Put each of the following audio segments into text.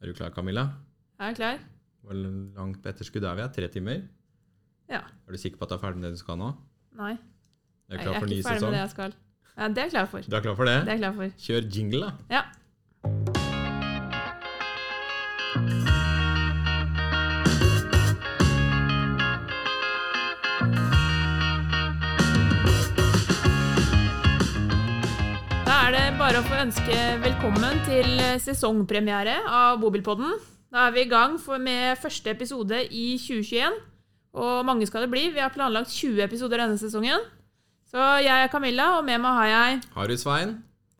Er du klar, Camilla? Er jeg klar? Hvor langt på etterskudd er vi? Tre timer? Ja. Er du sikker på at du er ferdig med det du skal nå? Nei. Er du jeg klar er for ny ikke ferdig sesong? med det jeg skal. Ja, det er jeg klar for. Du er klar for det? Det er jeg klar for. Kjør jingle, da. Ja. Da er det bare å få ønske velkommen til sesongpremiere av Bobilpodden. Da er vi i gang for med første episode i 2021. Og mange skal det bli. Vi har planlagt 20 episoder denne sesongen. Så jeg er Camilla, og med meg har jeg Har du Svein?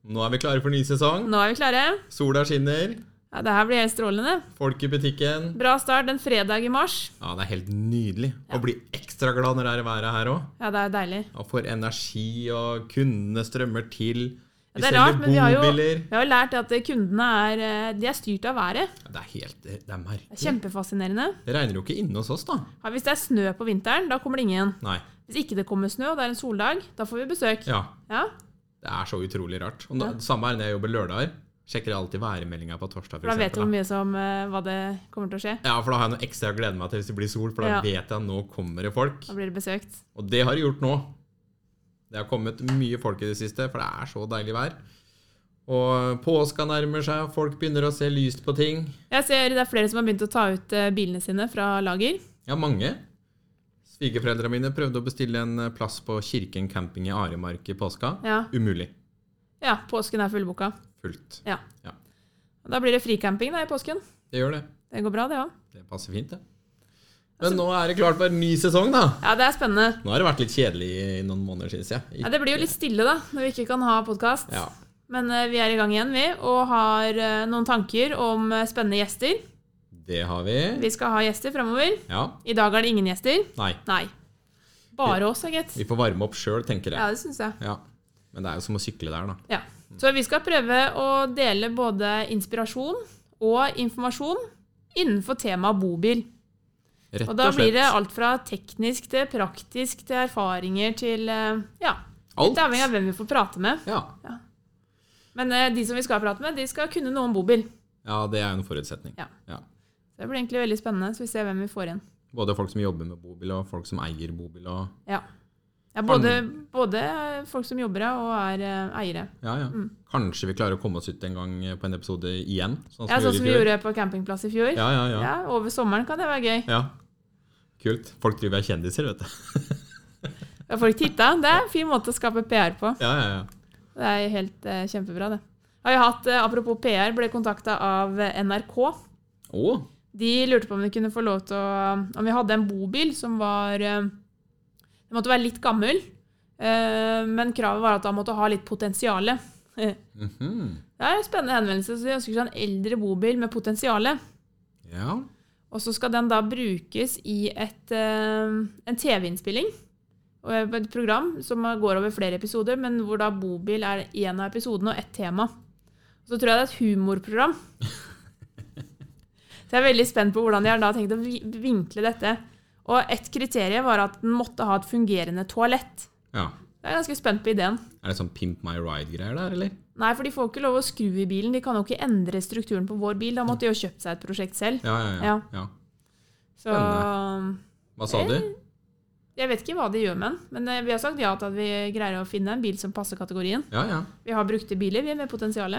Nå er vi klare for ny sesong. Nå er vi klare. Sola skinner, Ja, det her blir helt strålende. folk i butikken. Bra start en fredag i mars. Ja, det er helt nydelig. Og bli ekstra glad når det er været her òg. Ja, det er deilig. Og får energi, og kundene strømmer til. Ja, Vi det er selger rart, men vi har jo, bobiler. vi har jo lært at kundene er, eh, de er styrt av været. Ja, det er helt Det er Det merkelig. er kjempefascinerende. Det regner jo ikke inne hos oss, da. Ja, hvis det er snø på vinteren, da kommer det ingen. Nei. Hvis ikke det kommer snø, og det er en soldag, da får vi besøk. Ja. Ja, Det er så utrolig rart. Og da, Ja. det Samme er når jeg jobber lørdager. Sjekker jeg alltid værmeldinga på torsdag, for da vet du f.eks. hvor mye som, eh, hva det kommer til å skje. Ja, for da har jeg noe ekstra å glede meg til hvis det blir sol, for da Ja. vet jeg at nå kommer det folk. Da blir det besøkt. Og det har det gjort nå. Det har kommet mye folk i det siste, for det er så deilig vær. Og påska nærmer seg, folk begynner å se lyst på ting. Jeg ser det er flere som har begynt å ta ut eh, bilene sine fra lager. Ja, mange. Svigerforeldrene mine prøvde å bestille en eh, plass på Kirken camping i Aremark i påska. Ja, Umulig. ja påsken er fullboka. Fullt. Ja. Ja. Og Da blir det fricamping da i påsken. Det gjør det. Det går bra, det òg. Det passer fint, det. Altså- Men nå er det klart for en ny sesong, da. Ja, det er spennende. Nå har det vært litt kjedelig i noen måneder, syns jeg. Ja, det blir jo litt stille da, når vi ikke kan ha podkast. Ja. Men eh, vi er i gang igjen, vi, og har eh, noen tanker om eh, spennende gjester. Det har vi. Vi skal ha gjester framover. Ja. I dag er det ingen gjester. Nei. Nei. Bare oss, da, gitt. Vi får varme opp sjøl, tenker Ja, jeg. det syns jeg. Ja. Men det er jo som å sykle der, da. Ja. Så vi skal prøve å dele både inspirasjon og informasjon innenfor temaet bobil. Rett Og og, da slett. blir det alt fra teknisk til praktisk til erfaringer til eh, Ja. Alt. Litt avhengig av hvem vi får prate med. Ja. Men eh, de som vi skal prate med, de skal kunne noe om bobil. ja, det er jo en forutsetning. Ja. Det blir egentlig veldig spennende, så vi ser hvem vi får inn. Både folk som jobber med bobil, og folk som eier bobil, og Ja. Ja, både, både folk som jobber her og er eh, eiere. Ja, ja. Kanskje vi klarer å komme oss ut en gang eh, på en episode igjen? Sånn Ja, sånn som vi i fjor. gjorde på campingplass i fjor. Ja, ja, ja. ja. Ja, Over sommeren kan det være gøy. Kult. Folk driver og er kjendiser, vet du. Da folk titta. Det er en fin måte å skape PR på. Ja, ja, ja. Det er helt eh, kjempebra, det. Har jo hatt, eh, Apropos PR, ble kontakta av eh, NRK. Å, De lurte på om vi kunne få lov til å Om vi hadde en bobil som var eh, Den måtte være litt gammel, eh, men kravet var at han måtte ha litt potensiale. mhm. Det er en spennende henvendelse. Så de ønsker seg en eldre bobil med potensial. Ja. Og så skal den da brukes i et, eh, en TV-innspilling. Og Et program som går over flere episoder, men hvor da bobil er én av episodene og ett tema. Så tror jeg det er et humorprogram. Så jeg er veldig spent på hvordan de har da tenkt å vi- vinkle dette. Og et kriterium var at den måtte ha et fungerende toalett. ja. Jeg er ganske spent på ideen. Er det sånn Pimp my ride-greier der, eller? Nei, for de får ikke lov å skru i bilen. De kan jo ikke endre strukturen på vår bil. Da måtte de jo kjøpt seg et prosjekt selv. Ja, ja, ja. Ja. ja. Så Hva sa Eh. du? jeg vet ikke hva de gjør med den. Men eh, vi har sagt ja til at vi greier å finne en bil som passer kategorien. Ja, ja. Vi har brukte biler, vi, er med potensial.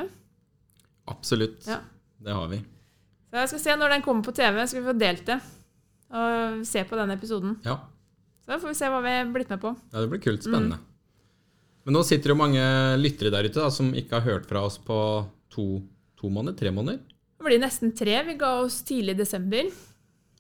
Absolutt. Ja. Det har vi. Så jeg skal se når den kommer på TV, skal vi få delt det. Og se på den episoden. Ja. Så får vi se hva vi har blitt med på. Ja, det blir kult. Mm. Spennende. Men nå sitter det jo mange lyttere der ute da, som ikke har hørt fra oss på to, to måneder? Tre måneder? Det blir nesten tre. Vi ga oss tidlig i desember.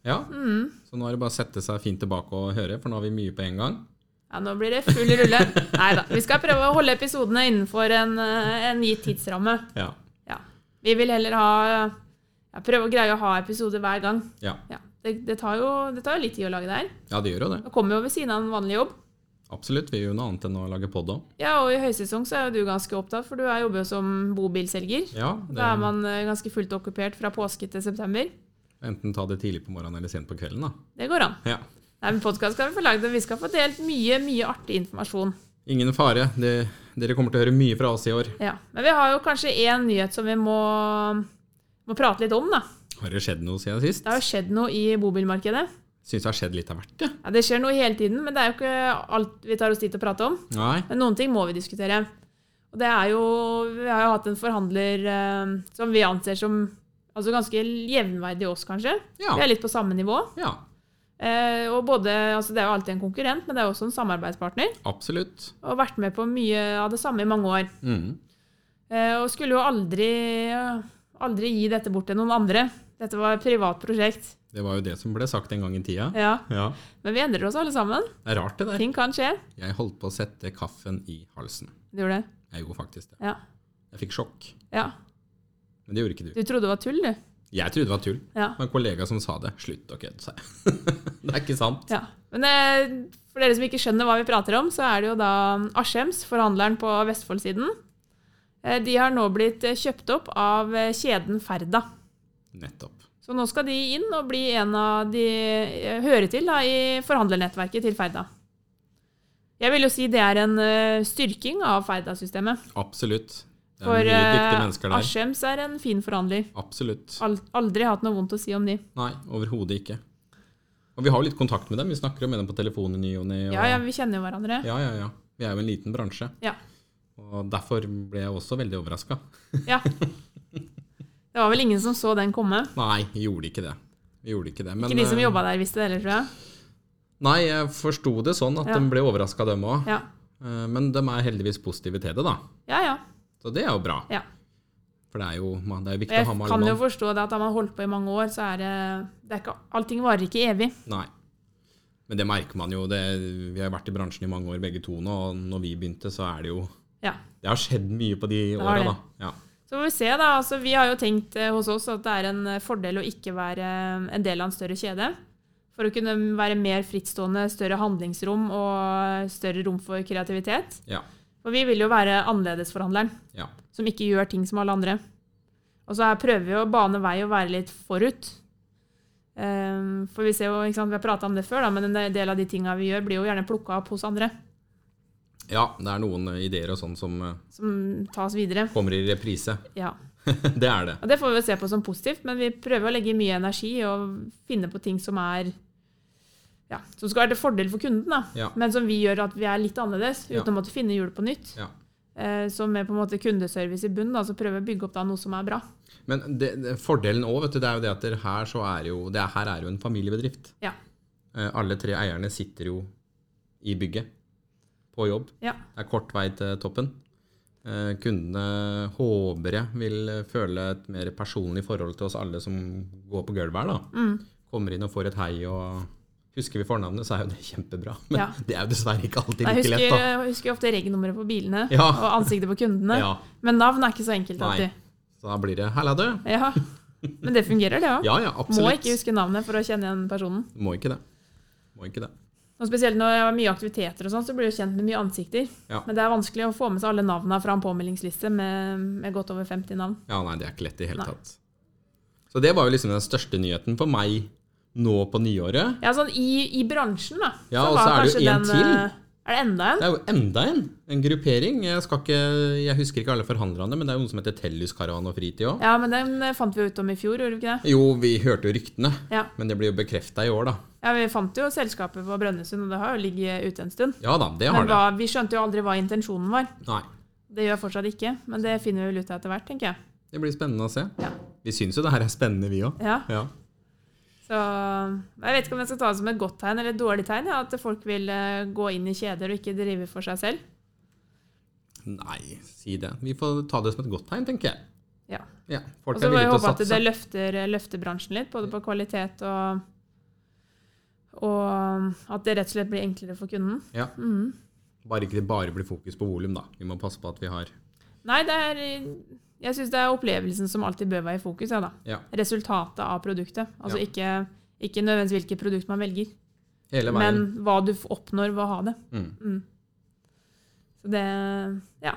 Ja. Mm. Så nå er det bare å sette seg fint tilbake og høre, for nå har vi mye på en gang. Ja, nå blir det full rulle. Nei da. Vi skal prøve å holde episodene innenfor en, eh, en gitt tidsramme. Ja. Ja. Vi vil heller ha ja, Prøve å greie å ha episoder hver gang. Ja, Ja. Det, det, tar jo, det tar jo litt tid å lage det her. ja det gjør jo det. Det kommer jo ved siden av en vanlig jobb. Absolutt. Vi gjør jo noe annet enn å lage pod òg. Ja, og i høysesong så er jo du ganske opptatt, for du er- jobber jo som bobilselger. Ja, det, Da er man eh, ganske fullt okkupert fra påske til september. enten ta det tidlig på morgenen eller sent på kvelden, da. Det går an. Ja. Nei, men Podkast skal vi få lagd, og vi skal få delt mye, mye artig informasjon. Ingen fare. Det, dere kommer til å høre mye fra oss i år. Ja, Men vi har jo kanskje én nyhet som vi må Må prate litt om, da. Har det skjedd noe siden sist? Det har jo skjedd noe i bobilmarkedet. Syns det har skjedd litt av hvert, jeg. Ja, det skjer noe hele tiden, men det er jo ikke alt vi tar oss tid til å prate om. Nei. Men noen ting må vi diskutere. Og det er jo Vi har jo hatt en forhandler eh, som vi anser som altså ganske jevnverdig oss, kanskje. Ja. Vi er litt på samme nivå. ja. Eh, og både, altså Det er jo alltid en konkurrent, men det er jo også en samarbeidspartner. Absolutt. Og har vært med på mye av det samme i mange år. Mm. Eh, og skulle jo aldri, aldri gi dette bort til noen andre. Dette var et privat prosjekt. Det var jo det som ble sagt en gang i tida. Ja. Ja. Men vi endrer oss alle sammen. Det er rart, det der. Ting kan skje. Jeg holdt på å sette kaffen i halsen. Du gjorde det. Jeg gjorde faktisk det. Ja. Jeg fikk sjokk. ja. Men det gjorde ikke du. Du trodde det var tull, du. Jeg trodde det var tull. Ja. Det var en kollega som sa det. Slutt å kødde seg. det er ikke sant. Ja. Men eh, for dere som ikke skjønner hva vi prater om, så er det jo da Askjems, forhandleren på Vestfoldsiden. Eh, De har nå blitt eh, kjøpt opp av eh, kjeden Ferda. Nettopp. Så nå skal de inn og bli en av de eh, høre til da, i forhandlernettverket til Ferda. Jeg vil jo si det er en eh, styrking av Ferda-systemet. Absolutt. Det er For mye dyktige eh, mennesker der. Askjems er en fin forhandler. Absolutt. Al- Aldri hatt noe vondt å si om de. Nei, overhodet ikke. Og vi har jo litt kontakt med dem. Vi snakker jo med dem på telefonen i ny og ne. og- Ja, ja, vi kjenner jo hverandre. ja, ja, ja. Vi er jo en liten bransje. Ja. Og derfor ble jeg også veldig overraska. ja. Det var vel ingen som så den komme. Nei, vi gjorde ikke det. Vi gjorde ikke det. Men, Ikke de som eh, jobba der, visste det heller, tror jeg. Nei, jeg forsto det sånn at Ja. de ble overraska, dem òg. Ja, Men de er heldigvis positive til det, da. ja. ja. Så det er jo bra. ja. For det er jo, man- det er jo Og viktig å ha Jeg med kan alle jo mann. forstå det at har man holdt på i mange år, så er det, det er ikke, Allting varer ikke evig. Nei. Men det merker man jo. Det, vi har vært i bransjen i mange år begge to nå, og når vi begynte, så er det jo Ja. Det har skjedd mye på de har åra, da. det. Ja. Så får vi se, da. Altså, vi har jo tenkt eh, hos oss at det er en eh, fordel å ikke være eh, en del av en større kjede. For å kunne være mer frittstående, større handlingsrom og eh, større rom for kreativitet. Ja. For vi vil jo være annerledesforhandleren, ja. som ikke gjør ting som alle andre. Og så her prøver vi å bane vei og være litt forut. Ehm, for vi ser jo, ikke sant, vi har prata om det før, da, men en del av de tinga vi gjør, blir jo gjerne plukka opp hos andre. Ja, det er noen eh, ideer og sånn som eh, Som tas videre. kommer i reprise. Ja. det er det. Og det får vi jo se på som positivt, men vi prøver å legge mye energi og finne på ting som er ja, som skal være til fordel for kunden, da. Ja. men som vi gjør at vi er litt annerledes, uten Ja. å måtte finne hjulet på nytt. Ja. Eh, så med på en måte kundeservice i bunnen, da, så prøver vi å bygge opp da noe som er bra. Men det, det, fordelen òg, vet du, det er jo det at det her, så er jo, det her er jo en familiebedrift. Ja. Eh, Alle tre eierne sitter jo i bygget, på jobb. Ja. Det er kort vei til toppen. Eh, Kundene håper jeg vil føle et mer personlig forhold til oss alle som går på gulvet her. da. Mm. Kommer inn og får et hei og Husker vi fornavnet, så er jo det kjempebra. Men Ja. det er jo dessverre ikke alltid Jeg like husker, lett. da. jeg husker ofte regnnummeret på bilene Ja. og ansiktet på kundene, Ja, men navn er ikke så enkelt Nei. alltid. så da blir det 'Halla, du'. Ja. Men det fungerer, det òg. Ja, ja, Må absolutt. ikke huske navnet for å kjenne igjen personen. Må ikke det. Må ikke det. Og spesielt når det er mye aktiviteter, og sånn, så blir du kjent med mye ansikter. Ja. Men det er vanskelig å få med seg alle navnene fra en påmeldingsliste med, med godt over 50 navn. Ja, nei, det er ikke lett i hele Nei. tatt. Så det var jo liksom den største nyheten for meg nå på nyåret. Ja, sånn i, i bransjen, da. Ja, så og var så er det jo kanskje en den, til. eh, Er det enda en? Det er jo enda en, en gruppering. Jeg, skal ikke, jeg husker ikke alle forhandlerne, men det er jo noen som heter Telluskaravan og Fritid òg. Ja, men den eh, fant vi jo ut om i fjor, gjorde vi ikke det? Jo, vi hørte jo ryktene, Ja. men det blir jo bekrefta i år, da. ja, vi fant jo selskapet på Brønnøysund, og det har jo ligget ute en stund. Ja da, det har Men det. hva, vi skjønte jo aldri hva intensjonen var. Nei. Det gjør jeg fortsatt ikke, men det finner vi vel ut av etter hvert, tenker jeg. Det blir spennende å se. Ja. Vi syns jo det her er spennende, vi òg. Ja, Ja. så Jeg vet ikke om jeg skal ta det som et godt tegn eller et dårlig tegn, ja, at folk vil eh, gå inn i kjeder og ikke drive for seg selv. Nei, si det. Vi får ta det som et godt tegn, tenker jeg. Ja. Ja, folk Og så er må vi villige til å håpe at satse. Mm. det løfter, eh, løfter bransjen litt, både på kvalitet og og um, at det rett og slett blir enklere for kunden. Ja. Mhm. Bare ikke det bare blir fokus på volum, da. Vi må passe på at vi har Nei, det er, jeg syns det er opplevelsen som alltid bør være i fokus. Ja, da. Ja. Resultatet av produktet. Altså Ja. ikke, ikke nødvendigvis hvilket produkt man velger, hele veien. men hva du f- oppnår ved å ha det. Mm. Så det Ja,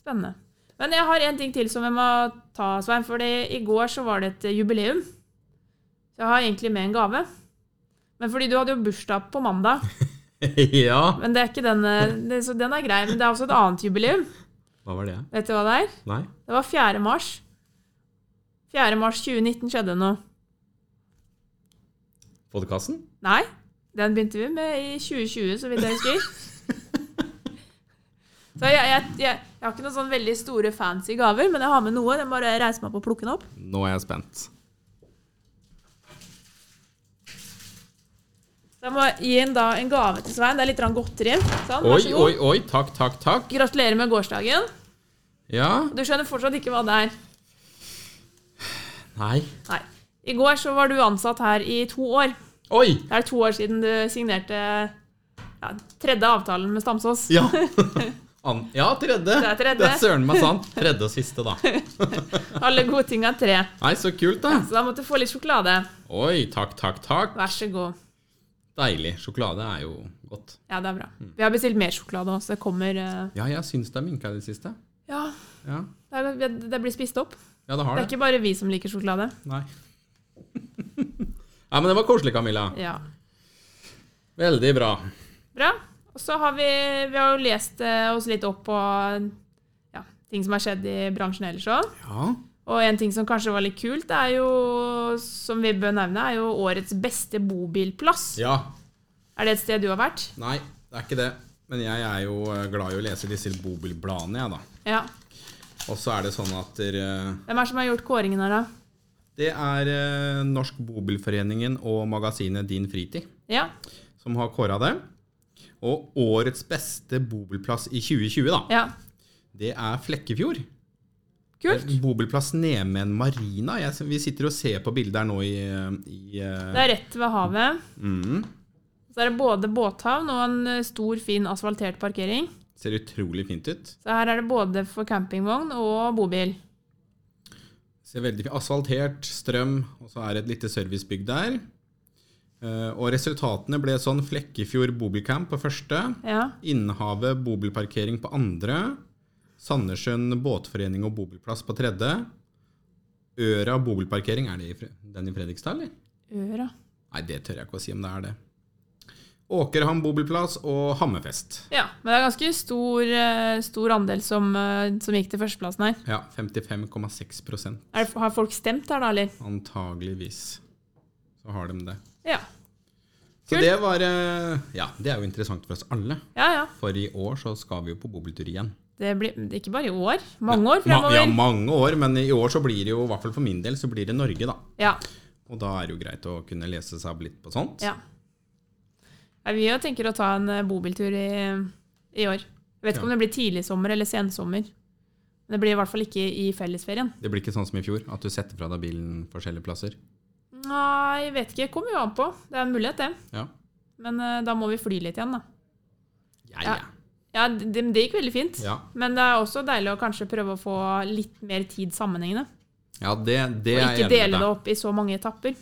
spennende. Men jeg har en ting til som jeg må ta, Svein. For i går så var det et jubileum. Så jeg har egentlig med en gave. Men fordi du hadde jo bursdag på mandag. ja. Men det er ikke den, eh, det, så den er grei. Men det er også et annet jubileum. Hva var det? Vet du hva det er? Nei? Det var 4. mars. 4. mars 2019 skjedde noe. Podkasten? Nei, den begynte vi med i 2020, så vidt jeg husker. Så jeg, jeg, jeg, jeg har ikke noen sånn veldig store fancy gaver, men jeg har med noe. Jeg må bare reise meg opp og plukke den opp. Nå er jeg spent. Så jeg må gi en, da, en gave til Svein. Det er litt grann godteri. Sånn, vær Oi, så god. oi, oi. Takk, takk, takk. Gratulerer med gårsdagen. Ja. Du skjønner fortsatt ikke hva det er. Nei. Nei. I går så var du ansatt her i to år. Oi! Det er to år siden du signerte ja, tredje avtalen med Stamsås. Ja. An ja, tredje. Det er tredje. er søren meg sant. Tredje og siste, da. Alle gode ting er tre. Nei, så kult, da. Så da måtte du få litt sjokolade. Oi, takk, takk, takk. Vær så god. Deilig. Sjokolade er jo godt. Ja, det er bra. Vi har bestilt mer sjokolade også. Det kommer eh, Ja, jeg syns det er minka i det siste. Ja, Ja, det, er, det blir spist opp. ja det har Det det. er ikke bare vi som liker sjokolade. Nei. Nei, men det var koselig, Camilla. Ja. Veldig bra. Bra. Og så har vi, vi har jo lest eh, oss litt opp på ja, ting som har skjedd i bransjen ellers òg. Ja. Og en ting som kanskje var litt kult, det er jo, som vi bør nevne, er jo årets beste bobilplass. Ja. Er det et sted du har vært? Nei, det er ikke det. Men jeg er jo eh, glad i å lese disse bobilbladene, jeg, da. Ja. Og så er det sånn at eh, Hvem er det som har gjort kåringen her, da? det er eh, Norsk Bobilforeningen og magasinet Din Fritid Ja. som har kåra det. Og årets beste bobilplass i 2020, da, ja. det er Flekkefjord. Kult. Bobilplass Nemen Marina. Jeg, vi sitter og ser på bildet her nå i, i eh, Det er rett ved havet. mm, Så er det både båthavn og en eh, stor, fin asfaltert parkering. Ser utrolig fint ut. Så her er det både for campingvogn og bobil. Ser veldig fint. Asfaltert, strøm, og så er det et lite servicebygg der. Eh, og resultatene ble sånn Flekkefjord bobilcamp på første, Ja. Innhavet bobilparkering på andre, Sandnessjøen båtforening og bobilplass på tredje. Øra bobilparkering, er det i, Fre- den i Fredrikstad, eller? Øra. Nei, det tør jeg ikke å si om det er det. Åkerhamn bobilplass og Hammerfest. Ja, men det er ganske stor, eh, stor andel som, eh, som gikk til førsteplassen her. Ja, 55,6 Er det, har folk stemt her, da, eller? Antageligvis så har de det. Ja. Så Kult. det var eh, Ja, det er jo interessant for oss alle. Ja, ja. For i år så skal vi jo på bobiltur igjen. Det blir ikke bare i år. Mange år Ma- Ja, fremover. mange år, men i år så blir det jo, i hvert fall for min del, så blir det Norge, da. Ja. Og da er det jo greit å kunne lese seg opp litt på sånt. Ja. Nei, vi jo tenker å ta en eh, bobiltur i, i år. Jeg vet ikke om det blir tidlig sommer eller sensommer. Men det blir i hvert fall ikke i fellesferien. Det blir ikke sånn som i fjor, at du setter fra deg bilen forskjellige plasser. Nei, jeg vet ikke. Det Kommer jo an på. Det er en mulighet, det. Ja. Men eh, da må vi fly litt igjen, da. Ja, ja. Ja. Ja, det, det gikk veldig fint. Ja. Men det er også deilig å kanskje prøve å få litt mer tid sammenhengende. ja det, det Og er ikke jeg enig dele med det deg. opp i så mange etapper.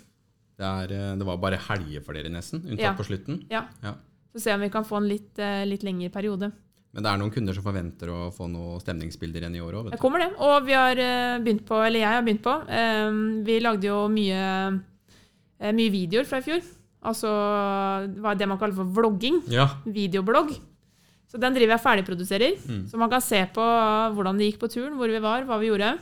Det, er, eh, det var bare helger for dere, nesten. Unntatt Ja. på slutten. Ja. Ja. Så se om vi kan få en litt, eh, litt lengre periode. Men det er noen kunder som forventer å få noen stemningsbilder igjen i år òg, Det vet du. kommer det. Og vi har eh, begynt på, eller jeg har begynt på, eh, vi lagde jo mye, eh, mye videoer fra i fjor. Altså det var det man kaller for vlogging. Ja. Videoblogg. Så den driver jeg ferdigproduserer. Så man kan se på eh, hvordan det gikk på turen, hvor vi var, hva vi gjorde.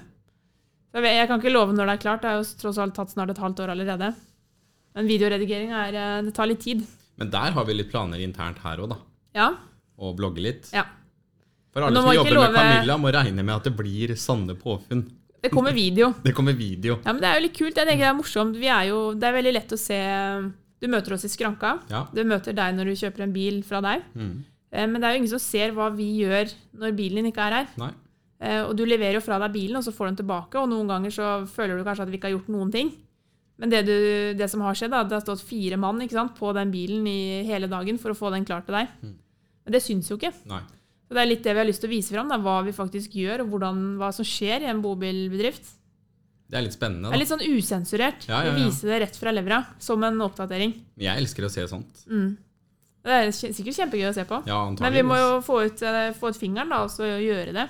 Så Jeg vet- jeg kan ikke love når det er klart, det er jo tross alt tatt snart et halvt år allerede. Men videoredigering er, eh, det tar litt tid. Men der har vi litt planer internt her òg, da. Ja. Og blogge litt. ja. For alle Nå som må jobber ikke med love- Camilla, må regne med at det blir sanne påfunn. Det kommer video. Det kommer video. Ja, men Det er jo litt kult. Jeg tenker Det er morsomt. Vi er jo, det er veldig lett å se um, Du møter oss i skranka. Ja. Du møter deg når du kjøper en bil fra deg. Mm. Eh, Men det er jo ingen som ser hva vi gjør når bilen din ikke er her. Nei. Eh, Og du leverer jo fra deg bilen, og så får du den tilbake. Og noen ganger så føler du kanskje at vi ikke har gjort noen ting. Men det, du, det som har skjedd, er at det har stått fire mann ikke sant, på den bilen i hele dagen for å få den klar til deg. Men det syns jo ikke. Nei. Så det er litt det vi har lyst til å vise fram, da, hva vi faktisk gjør, og hvordan, hva som skjer i en bobilbedrift. Det er litt spennende. Det er Da. litt sånn usensurert. Ja, ja, ja. Vise det rett fra levra, som en oppdatering. Jeg elsker å se sånt. Det er kje- sikkert kjempegøy å se på. Ja, Mm. Men vi antageligvis. må jo få ut, eh, få ut fingeren da, og så gjøre det.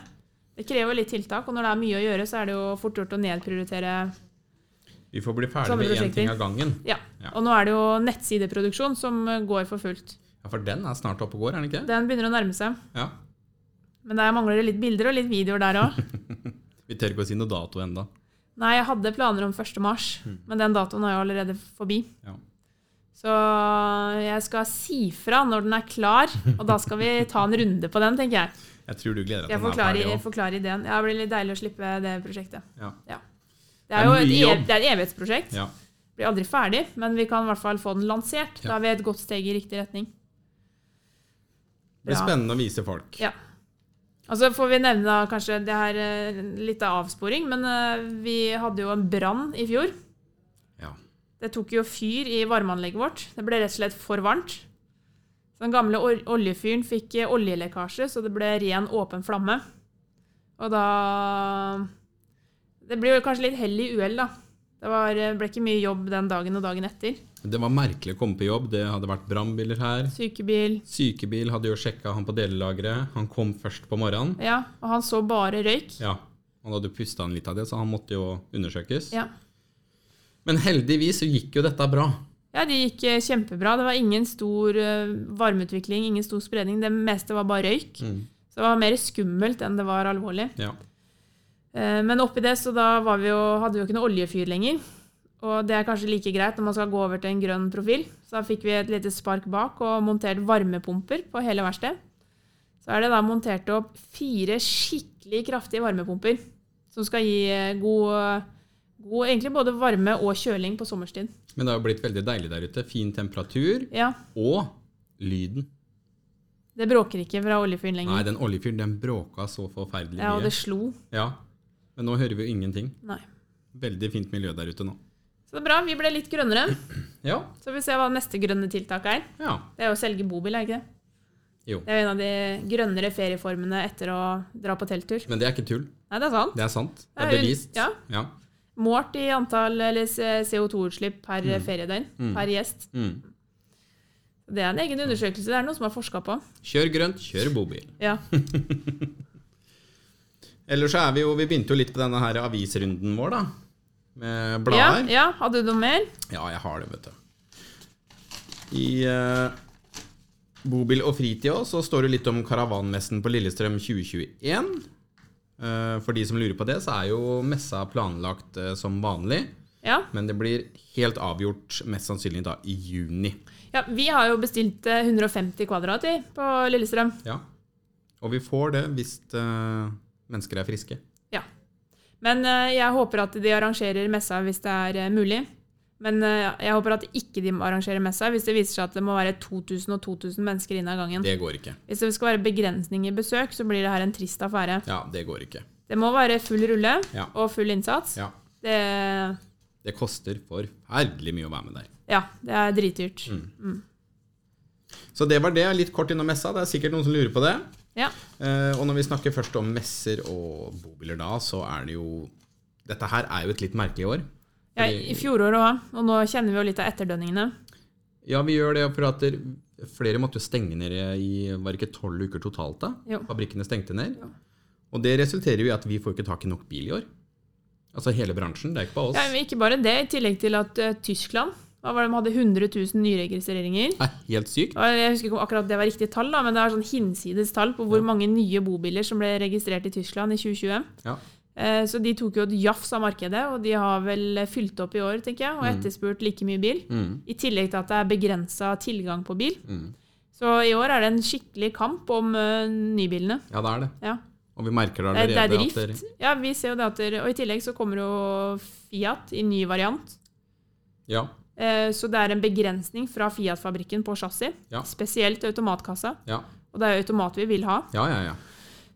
Det krever litt tiltak, og når det er mye å gjøre, så er det jo fort gjort å nedprioritere. Vi får bli ferdig Sånne med én prosjekter. ting av gangen. Ja. Ja. Og nå er det jo nettsideproduksjon som eh, går for fullt. Ja, For den er snart oppe og går, er den ikke? det? Den begynner å nærme seg. Ja. Men der mangler det litt bilder og litt videoer der òg. Vi tør ikke å si noe dato enda. Nei, jeg hadde planer om 1. mars, Mm. men den datoen er jo allerede forbi. Ja. Så jeg skal si fra når den er klar, og da skal vi ta en runde på den, tenker jeg. Jeg tror du gleder deg til den Jeg er forklarer, ferdig jeg òg. forklarer ideen. Ja, det blir litt deilig å slippe det prosjektet. Ja. Ja. Det Det er er jo et, mye ev jobb. det er et evighetsprosjekt. Ja. Blir aldri ferdig, men vi kan i hvert fall få den lansert. Ja. Da er vi et godt steg i riktig retning. Det blir Bra. spennende å vise folk. Ja. Og så får vi nevne da kanskje det her eh, litt av avsporing, men eh, vi hadde jo en brann i fjor. Ja. Det tok jo fyr i varmeanlegget vårt. Det ble rett og slett for varmt. Så Den gamle or- oljefyren fikk eh, oljelekkasje, så det ble ren, åpen flamme. Og da Det blir jo kanskje litt hell i uhell, da. Det var, eh, ble ikke mye jobb den dagen og dagen etter. Det var merkelig å komme på jobb. Det hadde vært brannbiler her. Sykebil. Sykebil hadde jo sjekka han på delelageret. Han kom først på morgenen. Ja, og han så bare røyk. Ja. Han hadde pusta han litt av det, så han måtte jo undersøkes. Ja. Men heldigvis så gikk jo dette bra. Ja, det gikk eh, kjempebra. Det var ingen stor eh, varmeutvikling, ingen stor spredning. Det meste var bare røyk. Så det var mer skummelt enn det var alvorlig. Ja. Eh, Men oppi det, så da var vi jo, hadde vi jo ikke noe oljefyr lenger. Og det er kanskje like greit når man skal gå over til en grønn profil. Så da fikk vi et lite spark bak og montert varmepumper på hele verkstedet. Så er det da montert opp fire skikkelig kraftige varmepumper som skal gi eh, god, god egentlig både varme og kjøling på sommerstid. Men det har jo blitt veldig deilig der ute. Fin temperatur. Ja, Og lyden. Det bråker ikke fra oljefyren Nei, lenger. den oljefyren den bråka så forferdelig Ja, og mye. det slo. Ja. Men nå hører vi jo ingenting. Nei. Veldig fint miljø der ute nå. Så det er bra. Vi ble litt grønnere. Ja. Så vi ser hva neste grønne tiltak er. Ja. Det er jo å selge bobil, er det ikke det? Jo. Det er jo en av de grønnere ferieformene etter å dra på telttur. Men det er ikke tull. Nei, det er sant. Det er sant. Det Det er er jo- bevist. ja. Målt i antall eller CO2-utslipp per feriedøgn per gjest. Mm. Det er en egen undersøkelse. Det er noe som har forska på. Kjør grønt, kjør bobil. Ja. Ellers så er vi jo Vi begynte jo litt på denne her avisrunden vår, da. Med ja, blader. Ja, ja. Hadde du noe mer? jeg har det, vet du. I eh, Bobil og fritid også, så står det litt om Karavanmessen på Lillestrøm 2021. Eh, for de som lurer på det, så er jo messa planlagt eh, som vanlig. Ja. Men det blir helt avgjort mest sannsynlig da i juni. ja. Vi har jo bestilt eh, 150 kvadrat i, på Lillestrøm. Ja. Og vi får det hvis eh, mennesker er friske. Ja. Men eh, jeg håper at de arrangerer messa hvis det er eh, mulig. Men eh, jeg håper at ikke de arrangerer messa hvis det viser seg at det må være 2000 og 2000 mennesker inn av gangen. Det går ikke. Hvis det skal være begrensning i besøk, så blir det her en trist affære. Ja, det går ikke. Det må være full rulle Ja. og full innsats. Ja. Det, Det koster forferdelig mye å være med der. ja, det er dritdyrt. Mm. Så det var det. Litt kort innom messa. Det er sikkert noen som lurer på det. Ja. Eh, og når vi snakker først om messer og bobiler da, så er det jo Dette her er jo et litt merkelig år. ja. I fjoråret òg, og nå kjenner vi jo litt av etterdønningene. Ja, vi gjør det for at der- flere måtte jo stenge ned i Var det ikke tolv uker totalt, da? Jo. Fabrikkene stengte ned. Og det resulterer jo i at vi får ikke tak i nok bil i år. Altså hele bransjen. Det er ikke bare oss. Ja, men ikke bare det, i tillegg til at eh, Tyskland hva var det, de hadde 100 000 nyregistreringer. Nei, helt sykt. Og Jeg husker ikke om akkurat det var riktig tall, da, men det er sånn hinsides tall på hvor mange nye bobiler som ble registrert i Tyskland i 2020. Ja. Eh, Så de tok jo et jafs av markedet, og de har vel fylt opp i år, tenker jeg, Mm. og etterspurt like mye bil. I tillegg til at det er begrensa tilgang på bil. Så i år er det en skikkelig kamp om eh, nybilene. ja, det er det. Ja. Og vi merker det Det er, allerede. det er at drift. Ja, vi ser jo det at der, Og i tillegg så kommer jo Fiat i ny variant. ja. Eh, Så det er en begrensning fra Fiat-fabrikken på chassis. Ja. Spesielt automatkassa. Ja. Og det er jo automat vi vil ha. ja, ja, ja.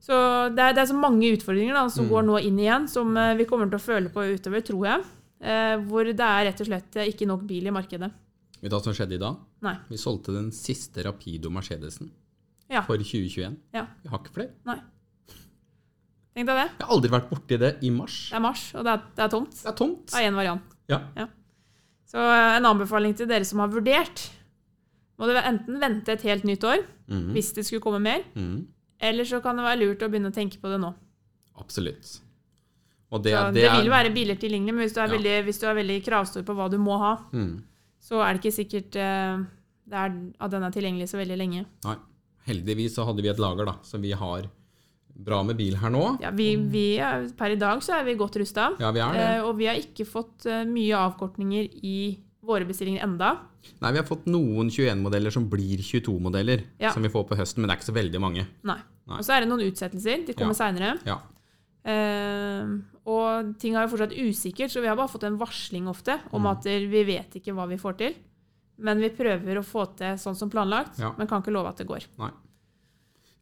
Så det er, det er så mange utfordringer da, som går nå inn igjen, som eh, vi kommer til å føle på utover, tror jeg. Eh, hvor det er rett og slett eh, ikke nok bil i markedet. Vet du hva som skjedde i dag? Nei. Vi solgte den siste Rapido Mercedesen Ja. for 2021. ja. Vi har ikke flere. Nei. Tenk deg det. Jeg har aldri vært borti det i mars. Det er mars, og det er, det er tomt. Det er tomt. Det er én variant. Ja. Så eh, en anbefaling til dere som har vurdert. Må du enten vente et helt nytt år, Mhm. hvis det skulle komme mer, Mhm. eller så kan det være lurt å begynne å tenke på det nå. Absolutt. Og det, Så det det er- vil være biler tilgjengelig, men hvis du, er Ja. veldig, hvis du er veldig kravstor på hva du må ha, Mhm. så er det ikke sikkert eh, det er, at den er tilgjengelig så veldig lenge. Nei. Heldigvis så hadde vi et lager, da, så vi har bra med bil her nå. Ja, vi, vi er, per i dag så er vi godt rusta. Mhm. Ja, vi er det. Eh, og vi har ikke fått eh, mye avkortninger i våre bestillinger enda. Nei, vi har fått noen 21-modeller som blir 22-modeller, Ja. som vi får på høsten, men det er ikke så veldig mange. Nei. Nei. Og så er det noen utsettelser. Ja. De kommer seinere. Ja. Eh, og ting er jo fortsatt usikkert, så vi har bare fått en varsling ofte om Mm. at vi vet ikke hva vi får til. Men vi prøver å få til sånn som planlagt, Ja. men kan ikke love at det går. Nei.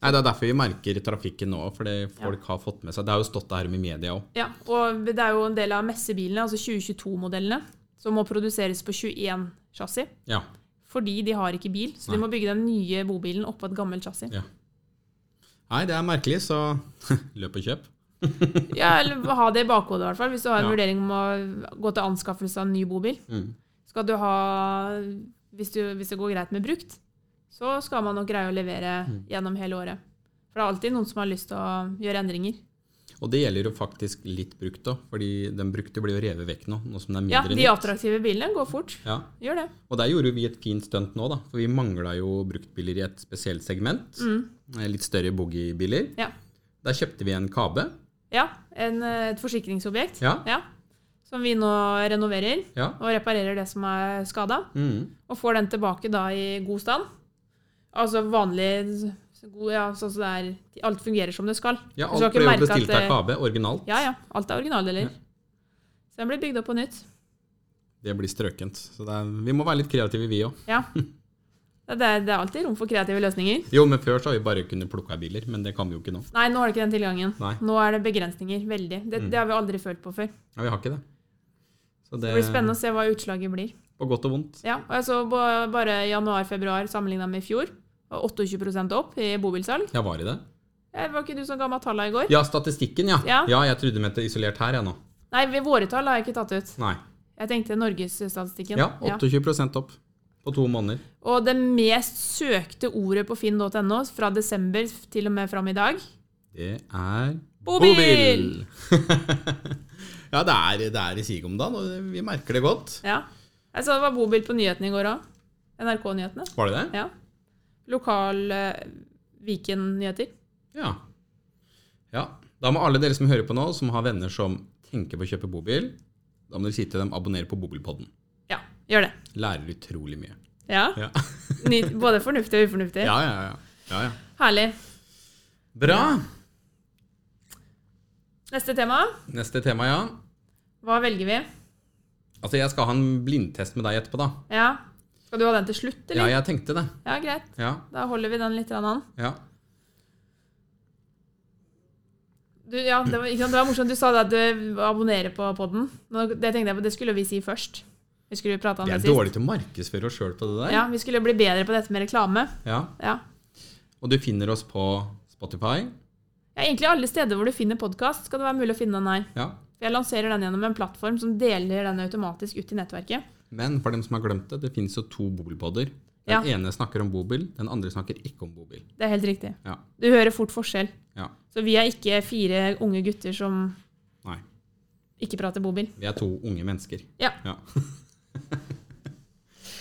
Nei, Det er derfor vi merker trafikken nå, fordi folk har fått med seg Det har jo stått der med media òg. Ja, og det er jo en del av messebilene, altså 2022-modellene, som må produseres på 21 chassis. Ja. Fordi de har ikke bil, så de Nei. må bygge den nye bobilen oppå et gammelt chassis. ja. Nei, det er merkelig, så løp og kjøp. Ja, eller ha det i bakhodet, i hvert fall, hvis du har en Ja. vurdering om å gå til anskaffelse av en ny bobil. Mm. Skal du ha hvis, du, hvis det går greit med brukt, så skal man nok greie å levere Mm. gjennom hele året. For det er alltid noen som har lyst til å gjøre endringer. Og det gjelder jo faktisk litt brukt òg, fordi den brukte blir jo revet vekk nå. nå som det er Ja, mindre de attraktive bilene går fort. ja. Gjør det. Og der gjorde jo vi et fint stunt nå, da. For vi mangla jo bruktbiler i et spesielt segment. Mm. Eh, Litt større boogiebiler. Ja. Der kjøpte vi en Kabe. ja en, eh, et forsikringsobjekt. Ja. Som vi nå renoverer. Ja. Og reparerer det som er skada. Mm. Og får den tilbake da i god stand. Altså vanlig s- god, ja, sånn som det er Alt fungerer som det skal. ja Du skal alt ikke ble jo merke at bestilt av det- Kabe, originalt. Ja, ja. Alt er originaldeler. Så den blir bygd opp på nytt. Det blir strøkent. Så det er, vi må være litt kreative, vi òg. Ja. Det er, det er alltid rom for kreative løsninger. Jo, men før så har vi bare kunnet plukke av biler, men det kan vi jo ikke nå. Nei, nå har du ikke den tilgangen. Nei. Nå er det begrensninger. Veldig. Det, Mm. det har vi aldri følt på før. Ja, vi har ikke det. Så det, Det blir spennende å se hva utslaget blir. På godt og vondt. Ja, og jeg så ba- bare januar-februar sammenligna med i fjor. var 28 opp i bobilsalg. Ja, var i det? Ja, Var ikke du som ga meg tallene i går? Ja, statistikken, ja. Ja. ja jeg trodde du mente isolert her, jeg nå. Nei, ved våre tall har jeg ikke tatt ut. Nei. Jeg tenkte norgesstatistikken. Ja, 28 opp på to måneder. Og det mest søkte ordet på finn.no fra desember til og med fram i dag Det er Bobil! ja, det er, det er i siget om dagen, og vi merker det godt. Ja. Jeg så det var bobil på nyhetene i går òg. NRK-nyhetene. Var det det? Ja. Lokal eh, Viken-nyheter. Ja. ja. Da må alle dere som hører på nå, som har venner som tenker på å kjøpe bobil, da må dere si til dem abonner på Bobilpodden. Ja, gjør det. Lærer utrolig mye. Ja. Ja, Ny, både fornuftig og ufornuftig. ja, ja. ja. ja, ja. Herlig. Bra. Neste tema. Neste tema, ja. Hva velger vi? Altså, jeg skal ha en blindtest med deg etterpå, da. Ja. Skal du ha den til slutt, Ja, eller? jeg tenkte det. Ja, greit. Ja, Da holder vi den litt grann an. ja. Du, ja, det, var, ikke sant, det var morsomt. Du sa det at du abonnerer på podden. Nå, det tenkte jeg på, det skulle vi si først. Vi skulle prate om Vi det er sist. dårlige til å markedsføre oss sjøl på det der. Ja, vi skulle bli bedre på dette med reklame. Ja. Ja. Og du finner oss på Spotify. Ja, egentlig alle steder hvor du finner podkast, skal det være mulig å finne den her. Ja. For jeg lanserer den gjennom en plattform som deler den automatisk ut i nettverket. Men for dem som har glemt det, det finnes jo to bobilpodder. Den ene snakker om bobil, den andre snakker ikke om bobil. Det er helt riktig. Ja. Du hører fort forskjell. ja. Så vi er ikke fire unge gutter som Nei. ikke prater bobil. Vi er to unge mennesker. Ja.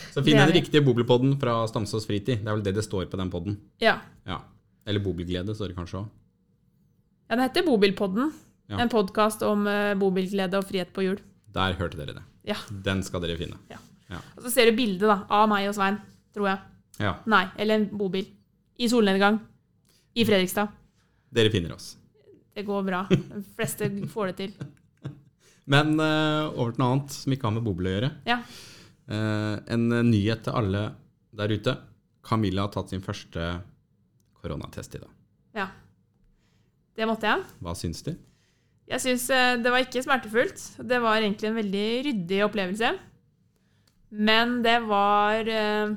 Så Det finn er den vi. riktige bobilpodden fra Stamsås Fritid. Det er vel det det står på den podden. Ja. Ja. Eller Bobilglede står det kanskje òg. ja den heter Bobilpodden. Ja. En podkast om eh, bobilglede og frihet på hjul. Der hørte dere det. Ja. Den skal dere finne. Og så ser du bildet da, av meg og Svein, tror jeg. Ja. Nei, eller en bobil. I solnedgang. I Fredrikstad. Dere finner oss. Det går bra. De fleste får det til. Men eh, over til noe annet som ikke har med bobil å gjøre. Ja. Eh, en nyhet til alle der ute. Camilla har tatt sin første koronatest i dag. ja. Det måtte jeg. Hva syns de? Jeg syns det var ikke smertefullt. Det var egentlig en veldig ryddig opplevelse. Men det var eh,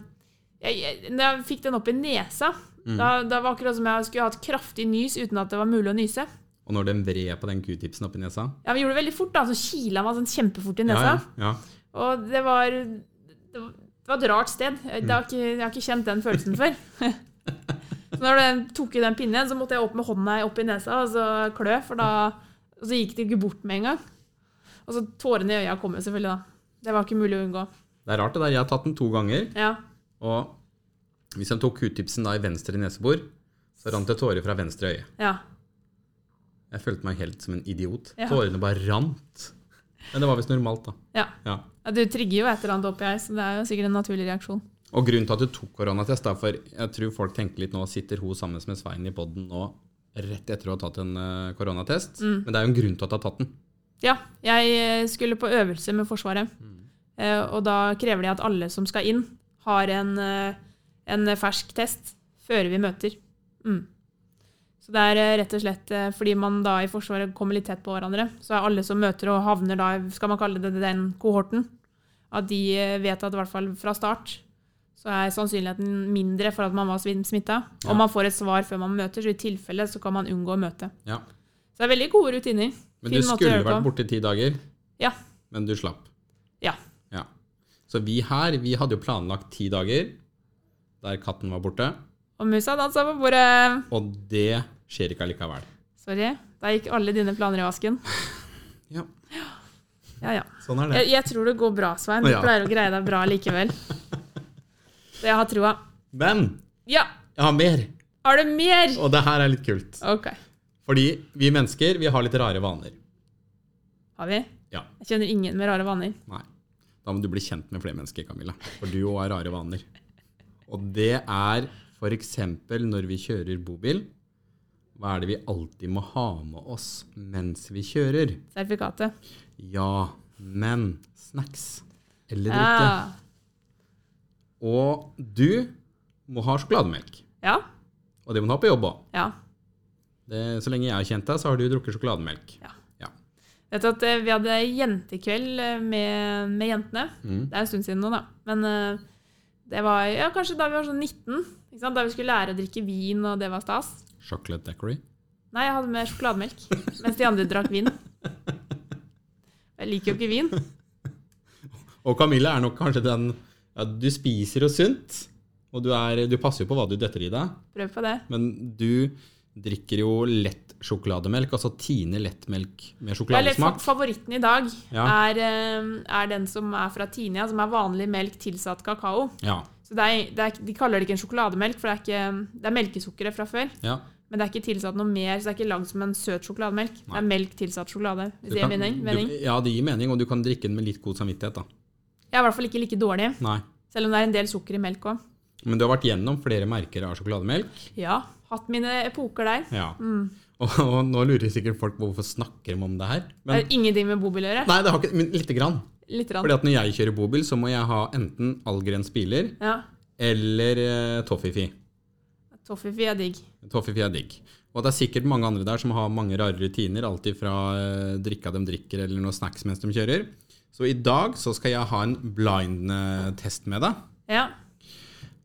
jeg, jeg, Når jeg fikk den opp i nesa, Mm. da, da var det akkurat som jeg skulle hatt kraftig nys uten at det var mulig å nyse. Og når den vred på den q-tipsen oppi nesa Ja, Vi gjorde det veldig fort, da, så kila meg sånn kjempefort i Ja, nesa. ja, ja. Og det var Det var- det var et rart sted. Jeg, det har ikke, jeg har ikke kjent den følelsen før. så når den tok i den pinnen, så måtte jeg opp med hånda opp i nesa og så klø, for da Og så gikk det ikke bort med en gang. Og så tårene i øya kom jo selvfølgelig, da. Det var ikke mulig å unngå. Det er rart, det der. Jeg har tatt den to ganger. Ja. Og hvis de tok q-tipsen da i venstre nesebor, så rant det tårer fra venstre øye. ja. Jeg følte meg helt som en idiot. Ja. Tårene bare rant. Men det var visst normalt, da. Ja. Ja. ja, Du trigger jo et eller annet oppi her, så det er jo sikkert en naturlig reaksjon. Og grunnen til at du tok koronatest, da, for jeg tror folk tenker litt nå Sitter hun sammen med Svein i poden nå rett etter å ha tatt en eh, koronatest? Mm. Men det er jo en grunn til at du har tatt den. Ja, jeg eh, skulle på øvelse med Forsvaret. Mm. Eh, og da krever de at alle som skal inn, har en, eh, en fersk test før vi møter. Mm. Så det er eh, rett og slett eh, fordi man da i Forsvaret kommer litt tett på hverandre, så er alle som møter og havner da, i- skal man kalle det den kohorten, at de eh, vet at i hvert fall fra start så er sannsynligheten mindre for at man var smitta. Ja. Og man får et svar før man møter, så i tilfelle så kan man unngå å møte. Ja. Så det er veldig gode rutiner. Men du Fin måte å skulle gjøre det på. vært borte i ti dager, Ja. men du slapp. Ja. Ja. Så vi her, vi hadde jo planlagt ti dager der katten var borte, Og musa dansa på bordet. og det skjer ikke allikevel. Sorry. Da gikk alle dine planer i vasken. Ja, Ja, ja. sånn er det. Jeg, jeg tror det går bra, Svein. Du Ja. pleier å greie deg bra likevel. Så jeg har trua. Men Ja! jeg har mer, Har du mer? og det her er litt kult. OK. Fordi vi mennesker, vi har litt rare vaner. Har vi? Ja, Jeg kjenner ingen med rare vaner. nei. Da må du bli kjent med flere mennesker, Camilla. For du òg har rare vaner. Og det er f.eks. når vi kjører bobil. Hva er det vi alltid må ha med oss mens vi kjører? Sertifikatet. Ja, men snacks eller drikke. Ja. Og du må ha sjokolademelk. ja. Og det må du ha på jobb òg. Ja. Så lenge jeg har kjent deg, så har du drukket sjokolademelk. Ja. Ja. Vet du at eh, vi hadde jentekveld eh, med, med jentene. Mm. Det er en stund siden nå, da. Men eh, det var ja, kanskje da vi var sånn 19. Ikke sant? Da vi skulle lære å drikke vin, og det var stas. Chocolate daiquiri. Nei, jeg hadde med sjokolademelk, mens de andre drakk vin. Jeg liker jo ikke vin. Og Camilla er nok kanskje den ja, Du spiser jo sunt, og du, er, du passer jo på hva du døtter i deg, Prøv på det. men du drikker jo lett sjokolademelk, altså Tine lettmelk med Eller fa- sjokoladesmak. favoritten i dag Ja. er, eh, er den som er fra Tinia, som er vanlig melk tilsatt kakao. Ja, Så det er, det er, ikke- de kaller det ikke en sjokolademelk, for det er, ikke, det er melkesukkeret fra før. ja. Men det er ikke tilsatt noe mer, så det er ikke lagd som en søt sjokolademelk. Det er melk tilsatt sjokolade. Hvis Du det gir kan- mening? du- mening. Ja, det gir mening, og du kan drikke den med litt god samvittighet, da. Jeg er i hvert fall ikke like dårlig, Nei. selv om det er en del sukker i melk òg. Men du har vært gjennom flere merker av sjokolademelk. Ja, hatt mine epoker der. Ja. Og, og nå lurer sikkert folk på hvorfor snakker de om det her. Det Men, er ingenting med bobil å gjøre. nei, det har ikke, men lite grann. Lite grann. Fordi at når jeg kjører bobil, så må jeg ha enten Allgrens biler Ja. eller eh, Toffifi. Toffifee er digg. Toffifi er digg. Og det er sikkert mange andre der som har mange rare rutiner, alltid fra eh, drikka de drikker eller noe snacks mens de kjører. Så i dag så skal jeg ha en blind-test med deg. Ja.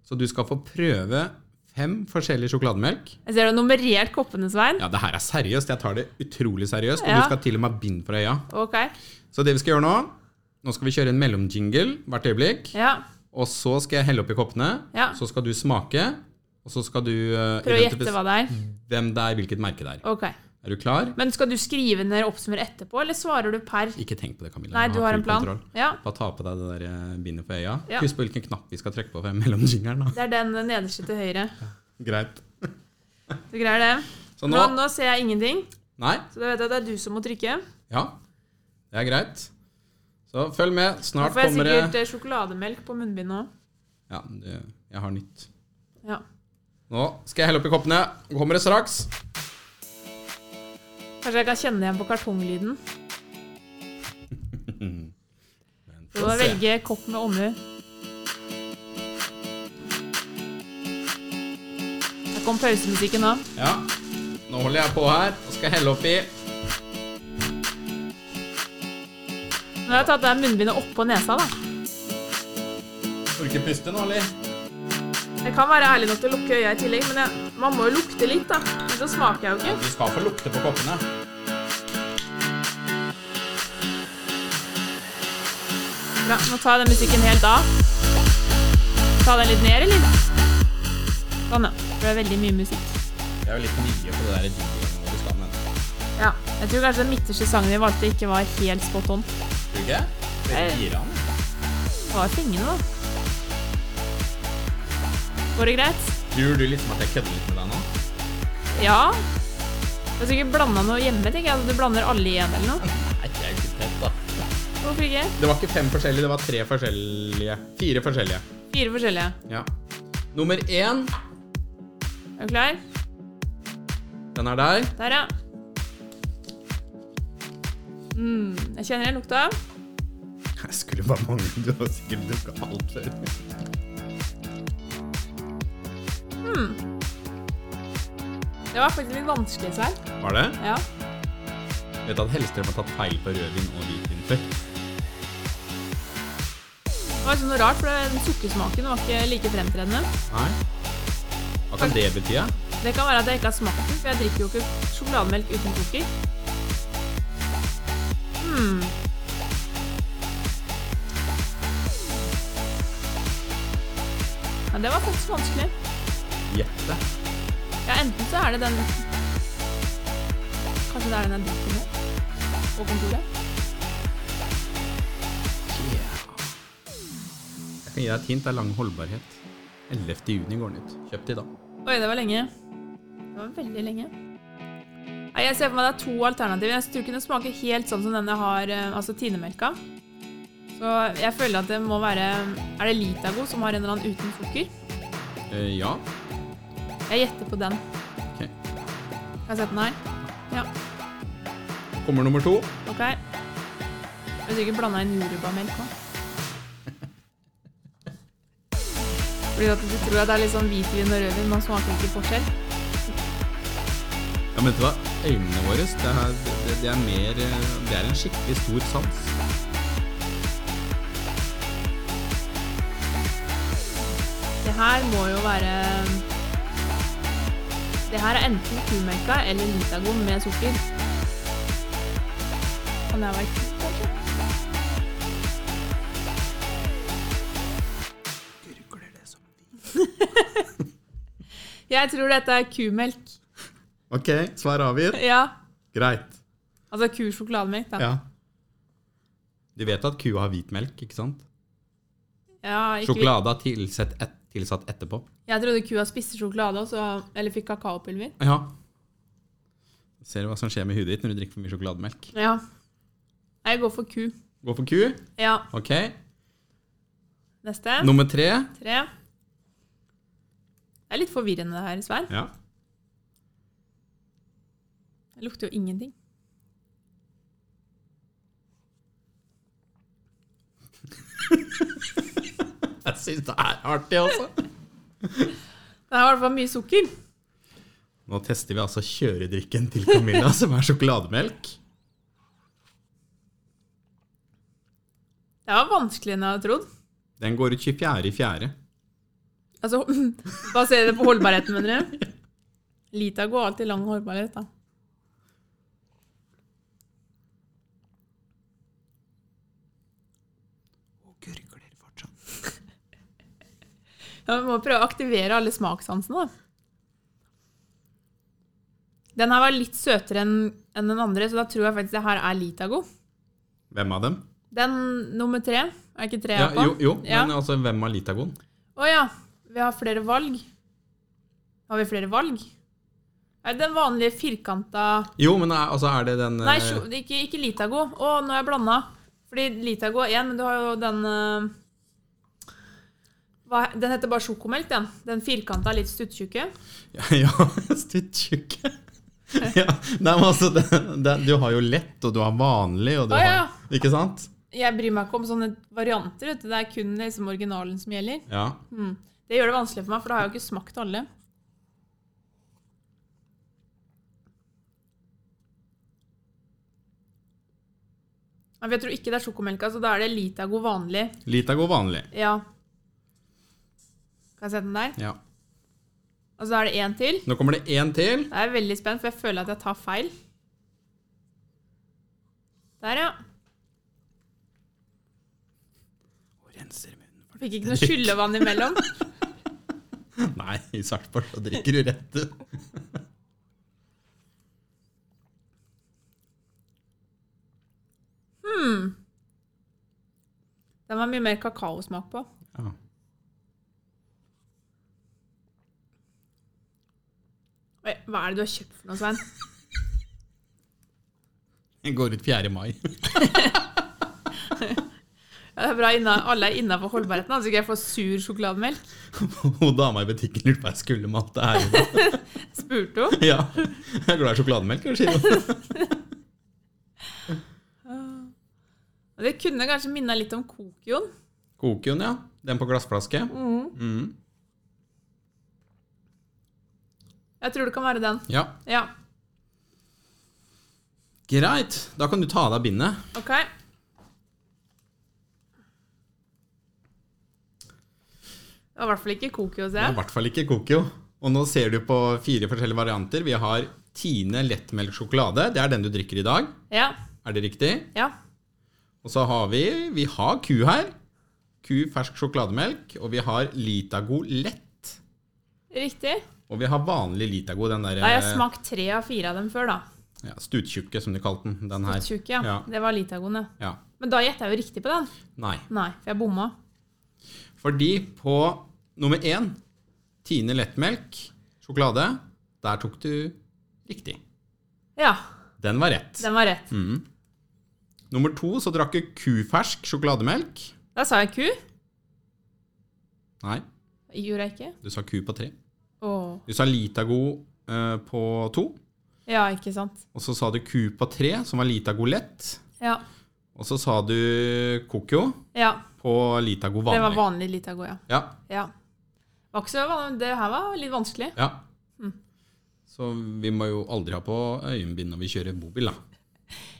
Så du skal få prøve fem forskjellige sjokolademelk. Jeg ser du har nummerert koppene, Svein. Ja, det her er seriøst. Jeg tar det utrolig seriøst. Og Ja. du skal til og med ha bind for øya. Ok. Så det vi skal gjøre nå Nå skal vi kjøre en mellomjingle hvert øyeblikk. Ja. Og så skal jeg helle oppi koppene. Ja. Så skal du smake. Og så skal du uh, Prøv å gjette hva det er. hvem det er, hvilket merke det er. Ok. Er du klar? Men skal du skrive ned og oppsummere etterpå, eller svarer du per? Ikke tenk på det, Camilla. Nei, du har full en plan. kontroll. Ja. Bare ta på deg det der eh, bindet på øya. Ja. Husk på hvilken knapp vi skal trykke på for mellomjingeren. da. Det er den nederste til høyre. Greit. Du greier det. Så Nå, nå nå ser jeg ingenting, Nei? så da vet jeg at det er du som må trykke. Ja. Det er greit. Så følg med. Nå Snart får jeg kommer det sikkert eh, sjokolademelk på munnbindet òg. Ja, det- jeg har nytt. Ja. Nå skal jeg helle oppi koppene. Nå Kommer det straks. Kanskje jeg kan kjenne igjen på kartonglyden. Du må Få se. velge kopp med omhu. Der kom pausemusikken nå. Ja. Nå holder jeg på her og skal helle oppi. Nå har jeg tatt det munnbindet oppå nesa, da. Får ikke puste nå, eller? Jeg kan være ærlig nok til å lukke øya i tillegg, men jeg, man må jo lukte litt, da. Men så smaker jeg jo ikke. Du skal få lukte på koppene. Bra, nå tar jeg den musikken helt av. Ta den litt ned, eller? Sånn, ja. For det er veldig mye musikk. Det er jo litt mye på det der jinglen hvor du skal, men Ja. Jeg tror kanskje den midterste sangen vi valgte, ikke var helt spot on. Tror du ikke? Det Nei. gir han. Det var fengende, da. Går det greit? Tror du liksom at jeg kødder litt med deg nå? Ja. Du har sikkert blanda noe hjemme, tenker jeg. Altså, du blander alle i en eller noe. Nei, det er jo ikke pent, da. Hvorfor ikke? Det var ikke fem forskjellige, det var tre forskjellige. Fire forskjellige. Fire forskjellige. Ja. Nummer én, Er du klar? den er der. Der, ja. Mm, jeg kjenner den lukta. Jeg skulle bare mangle, du har sikkert dukka alt før. Det var faktisk litt vanskelig svar. Var det? Ja. Vet du at Hellstrøm har tatt feil på rødvin og hvitvin før? Det var liksom noe rart, for den sukkersmaken var ikke like fremtredende. Nei. Hva kan det bety? ja? Det kan være at jeg ikke har smakt den, for jeg drikker jo ikke sjokolademelk uten sukker. Hmm. Ja, det var faktisk vanskelig. Gjette. Ja, enten så er det den Kanskje det er den jeg drikker nå? På kontoret? Jeg kan gi deg et hint. Det er lang holdbarhet. 11. juni går den ut. Kjøp de, da. Oi, det var lenge. Det var veldig lenge. Nei, jeg ser for meg det er to alternativer. Jeg tror ikke den smaker helt sånn som den jeg har, eh, altså tinemelka. Så jeg føler at det må være Er det Litago som har en eller annen uten sukker? Eh, ja. Jeg gjetter på den. Ok. Kan jeg sette den her? Ja, Kommer nummer to. ok. Jeg har sikkert blanda inn jorubamelk òg. Fordi at du tror at det er litt sånn hvitvin og rødvin, man smaker ikke forskjell. Ja, men vet du hva? Øynene våre, det er, det, det er mer eh, Det er en skikkelig stor sans. Det her må jo være Det her er enten kumelka eller Litago med sukker. Kan det være kult, kanskje? Gurgler det som Jeg tror dette er kumelk. Ok, svar avgitt. Ja. Greit. Altså kusjokolademelk, da. Ja. Du vet at kua har hvit melk, ikke sant? Ja, ikke vi- Sjokolade er tilsett, et, tilsatt etterpå. Jeg trodde kua spiste sjokolade også, eller fikk kakaopulver. Ja. Ser du hva som skjer med hudet ditt når du drikker for mye sjokolademelk? Ja. Jeg går for ku. Gå for ku. Ja. Ok. Neste. Nummer tre. Tre. Det er litt forvirrende, det her, Svein. Ja. Det lukter jo ingenting. Jeg syns det er artig, altså. Det er i hvert fall mye sukker. Nå tester vi altså kjøredrikken til Camilla, som er sjokolademelk. Det var vanskeligere enn jeg hadde trodd. Den går ut 24.4. Altså, baserer det på holdbarheten, mener du? Lita går alltid lang holdbarhet, da. Og gurgler fortsatt. Ja, vi må prøve å aktivere alle smakssansene, da. Den her var litt søtere enn enn den andre, så da tror jeg faktisk det her er Litago. Hvem av dem? Den nummer tre er ikke tre Ja, på? jo, jo, Ja. men altså, hvem av Litagon? Å ja. Vi har flere valg. Har vi flere valg? Er det den vanlige firkanta Jo, men er, altså, er det den Nei, eh, sjo- ikke, ikke Litago. Å, nå er jeg blanda. Fordi Litago er én, men du har jo den eh, hva, Den heter bare sjokomelk, den. Den firkanta, litt stuttjukke. Ja, stuttjukke. ja, nei, men altså, det, det, du har jo lett, og du har vanlig, og du Å, har ja. Ikke sant? Jeg bryr meg ikke om sånne varianter. Vet du. Det er kun liksom originalen som gjelder. Ja. Mm. Det gjør det vanskelig for meg, for da har jeg jo ikke smakt alle. Ja, for Jeg tror ikke det er sjokomelka, så da er det Litago vanlig. Litago vanlig. Ja. Kan jeg sette den der? Ja. Og så er det én til. Nå kommer det én til. Da er jeg veldig spent, for jeg føler at jeg tar feil. Der, ja. Og renser munnen for Fikk ikke noe skyllevann imellom. det. Nei, i Sarpsborg så drikker du rett ut. Den var mye mer kakaosmak på. Ja. Oi, hva er det du har kjøpt for noe, Svein? Den går ut 4. mai. Ja, det er bra inna, alle er innafor holdbarheten, altså ikke jeg får sur sjokolademelk. Hun dama i butikken lurte på hva jeg skulle med alt det her. Spurte hun. Ja. Jeg er glad i sjokolademelk, sier hun. Og Det kunne kanskje minna litt om Kokion. Kokion, ja. Den på glassflaske. Mm. Jeg tror det kan være den. Ja. Ja, Greit. Da kan du ta av deg bindet. ok. Det var i hvert fall ikke Kokio, Det ser er i jeg. hvert fall ikke Kokio. Og nå ser du på fire forskjellige varianter. Vi har Tine lettmelk sjokolade. Det er den du drikker i dag. Ja, Er det riktig? ja. Og så har vi Vi har ku her. Ku fersk sjokolademelk. Og vi har Litago lett. Riktig. Og vi har vanlig Litago, den der Da har jeg smakt tre av fire av dem før, da. ja, stuttjukke, som de kalte den. Den her. Tjukk, ja. Ja. Det var Litagon, ja. Ja. Men da gjetta jeg jo riktig på den. Nei. Nei, for jeg bomma. Fordi på nummer én, Tine lettmelk sjokolade, der tok du riktig. Ja, Den var rett. den var Mm. rett. Nummer to så drakk du kufersk sjokolademelk. Da sa jeg ku. Nei, Gjorde jeg ikke? du sa ku på tre. Åh. Du sa Litago eh, på to. Ja, ikke sant. Og så sa du ku på tre, som var Litago lett. Ja. Og så sa du Kokyo ja. på Litago Det vanlig. var vanlig Litago, ja. Ja, ja. Var ikke så van- Det her var litt vanskelig. ja. Mm. Så vi må jo aldri ha på øyenbind når vi kjører bobil, da.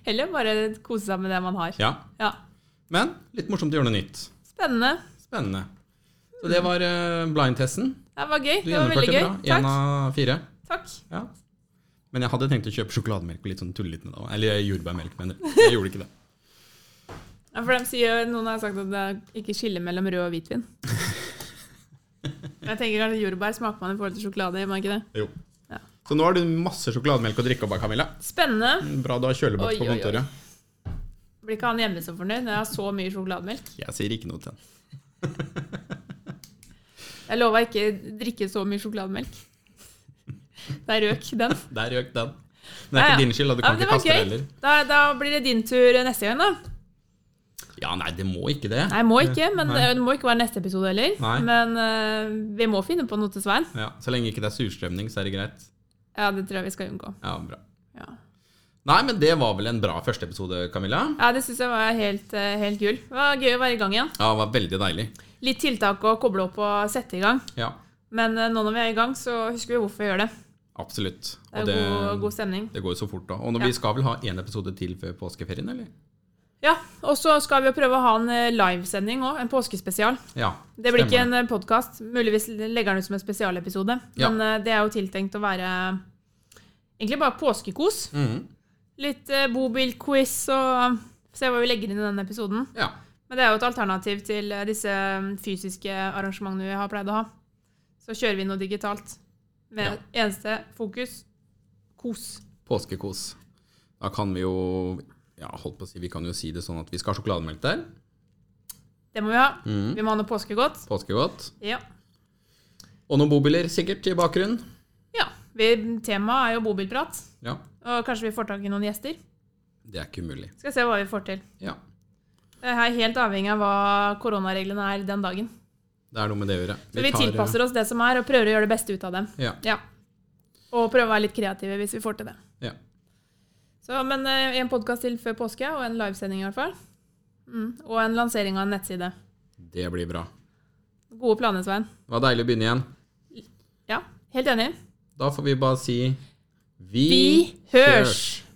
Heller bare kose seg med det man har. Ja. Ja. Men litt morsomt å gjøre noe nytt. Spennende. Spennende. Så det var eh, blindtesten. Det var gøy. Du Det var gjennomførte veldig gøy. bra. Én Takk. av fire. Takk. Ja. Men jeg hadde tenkt å kjøpe sjokolademelk og litt sånn tulle litt med det. også. Eller jordbærmelk, mener jeg. Jeg gjorde ikke det. Ja, for de sier, Noen har sagt at det ikke skiller mellom rød og hvitvin. Men Jeg tenker kanskje Jordbær smaker man i forhold til sjokolade. gjør man ikke det? Jo. Ja. Så nå har du masse sjokolademelk å drikke opp av, Camilla. Spennende. Bra du har kjølebok Oi, på oi, oi. kontoret. Blir ikke han hjemme så fornøyd når jeg har så mye sjokolademelk? Jeg sier ikke noe til den. Jeg lova ikke drikke så mye sjokolademelk. Der røk den. Der røk den. Men det er Ja, ja. ikke din skyld, da. Du kan Ja, men det ikke var kaste det gøy. heller. Da, da blir det din tur neste gang, da. Ja, nei, det må ikke det. Nei, må ikke, men Nei. det må ikke være neste episode heller. Nei. Men eh, vi må finne på noe til Svein. Ja, så lenge ikke det er surstrømning, så er det greit. Ja, det tror jeg vi skal unngå. Ja, bra. Ja, Nei, men det var vel en bra første episode, Camilla. ja det syns jeg var helt, eh, helt gull. Det var gøy å være i gang igjen. Ja, det var veldig deilig. Litt tiltak å koble opp og sette i gang. Ja, Men eh, nå når vi er i gang, så husker vi hvorfor vi gjør det. absolutt. Det er jo god, god stemning. det går jo så fort, da. Og når Ja. vi skal vel ha én episode til før påskeferien, eller? Ja, og så skal vi jo prøve å ha en eh, livesending òg. En påskespesial. Ja. Det blir ikke stemmer en podkast. Muligvis legger den ut som en spesialepisode. Ja. Men eh, det er jo tiltenkt å være egentlig bare påskekos. Mhm. Litt eh, bobilquiz og um, se hva vi legger inn i denne episoden. Ja. Men det er jo et alternativ til eh, disse fysiske arrangementene vi har pleid å ha. Så kjører vi noe digitalt. Med eneste fokus kos. Påskekos. Da kan vi jo ja, holdt på å si, Vi kan jo si det sånn at vi skal ha sjokolademelk der. Det må vi ha. Mhm. Vi må ha noe påskegodt. Påskegodt. Ja. Og noen bobiler sikkert i bakgrunnen. ja. Vi- Temaet er jo bobilprat. Ja, Og kanskje vi får tak i noen gjester. det er ikke umulig. Skal se hva vi får til. Ja, Det er helt avhengig av hva koronareglene er den dagen. det er noe med det å gjøre. Så vi tilpasser oss det som er, og prøver å gjøre det beste ut av dem. Ja, Ja. Og prøve å være litt kreative hvis vi får til det. ja. Så, men eh, en podkast til før påske, og en livesending i hvert fall. Mm. Og en lansering av en nettside. Det blir bra. Gode planer, Svein. Det var deilig å begynne igjen. Ja, helt enig. Da får vi bare si Vi hørs!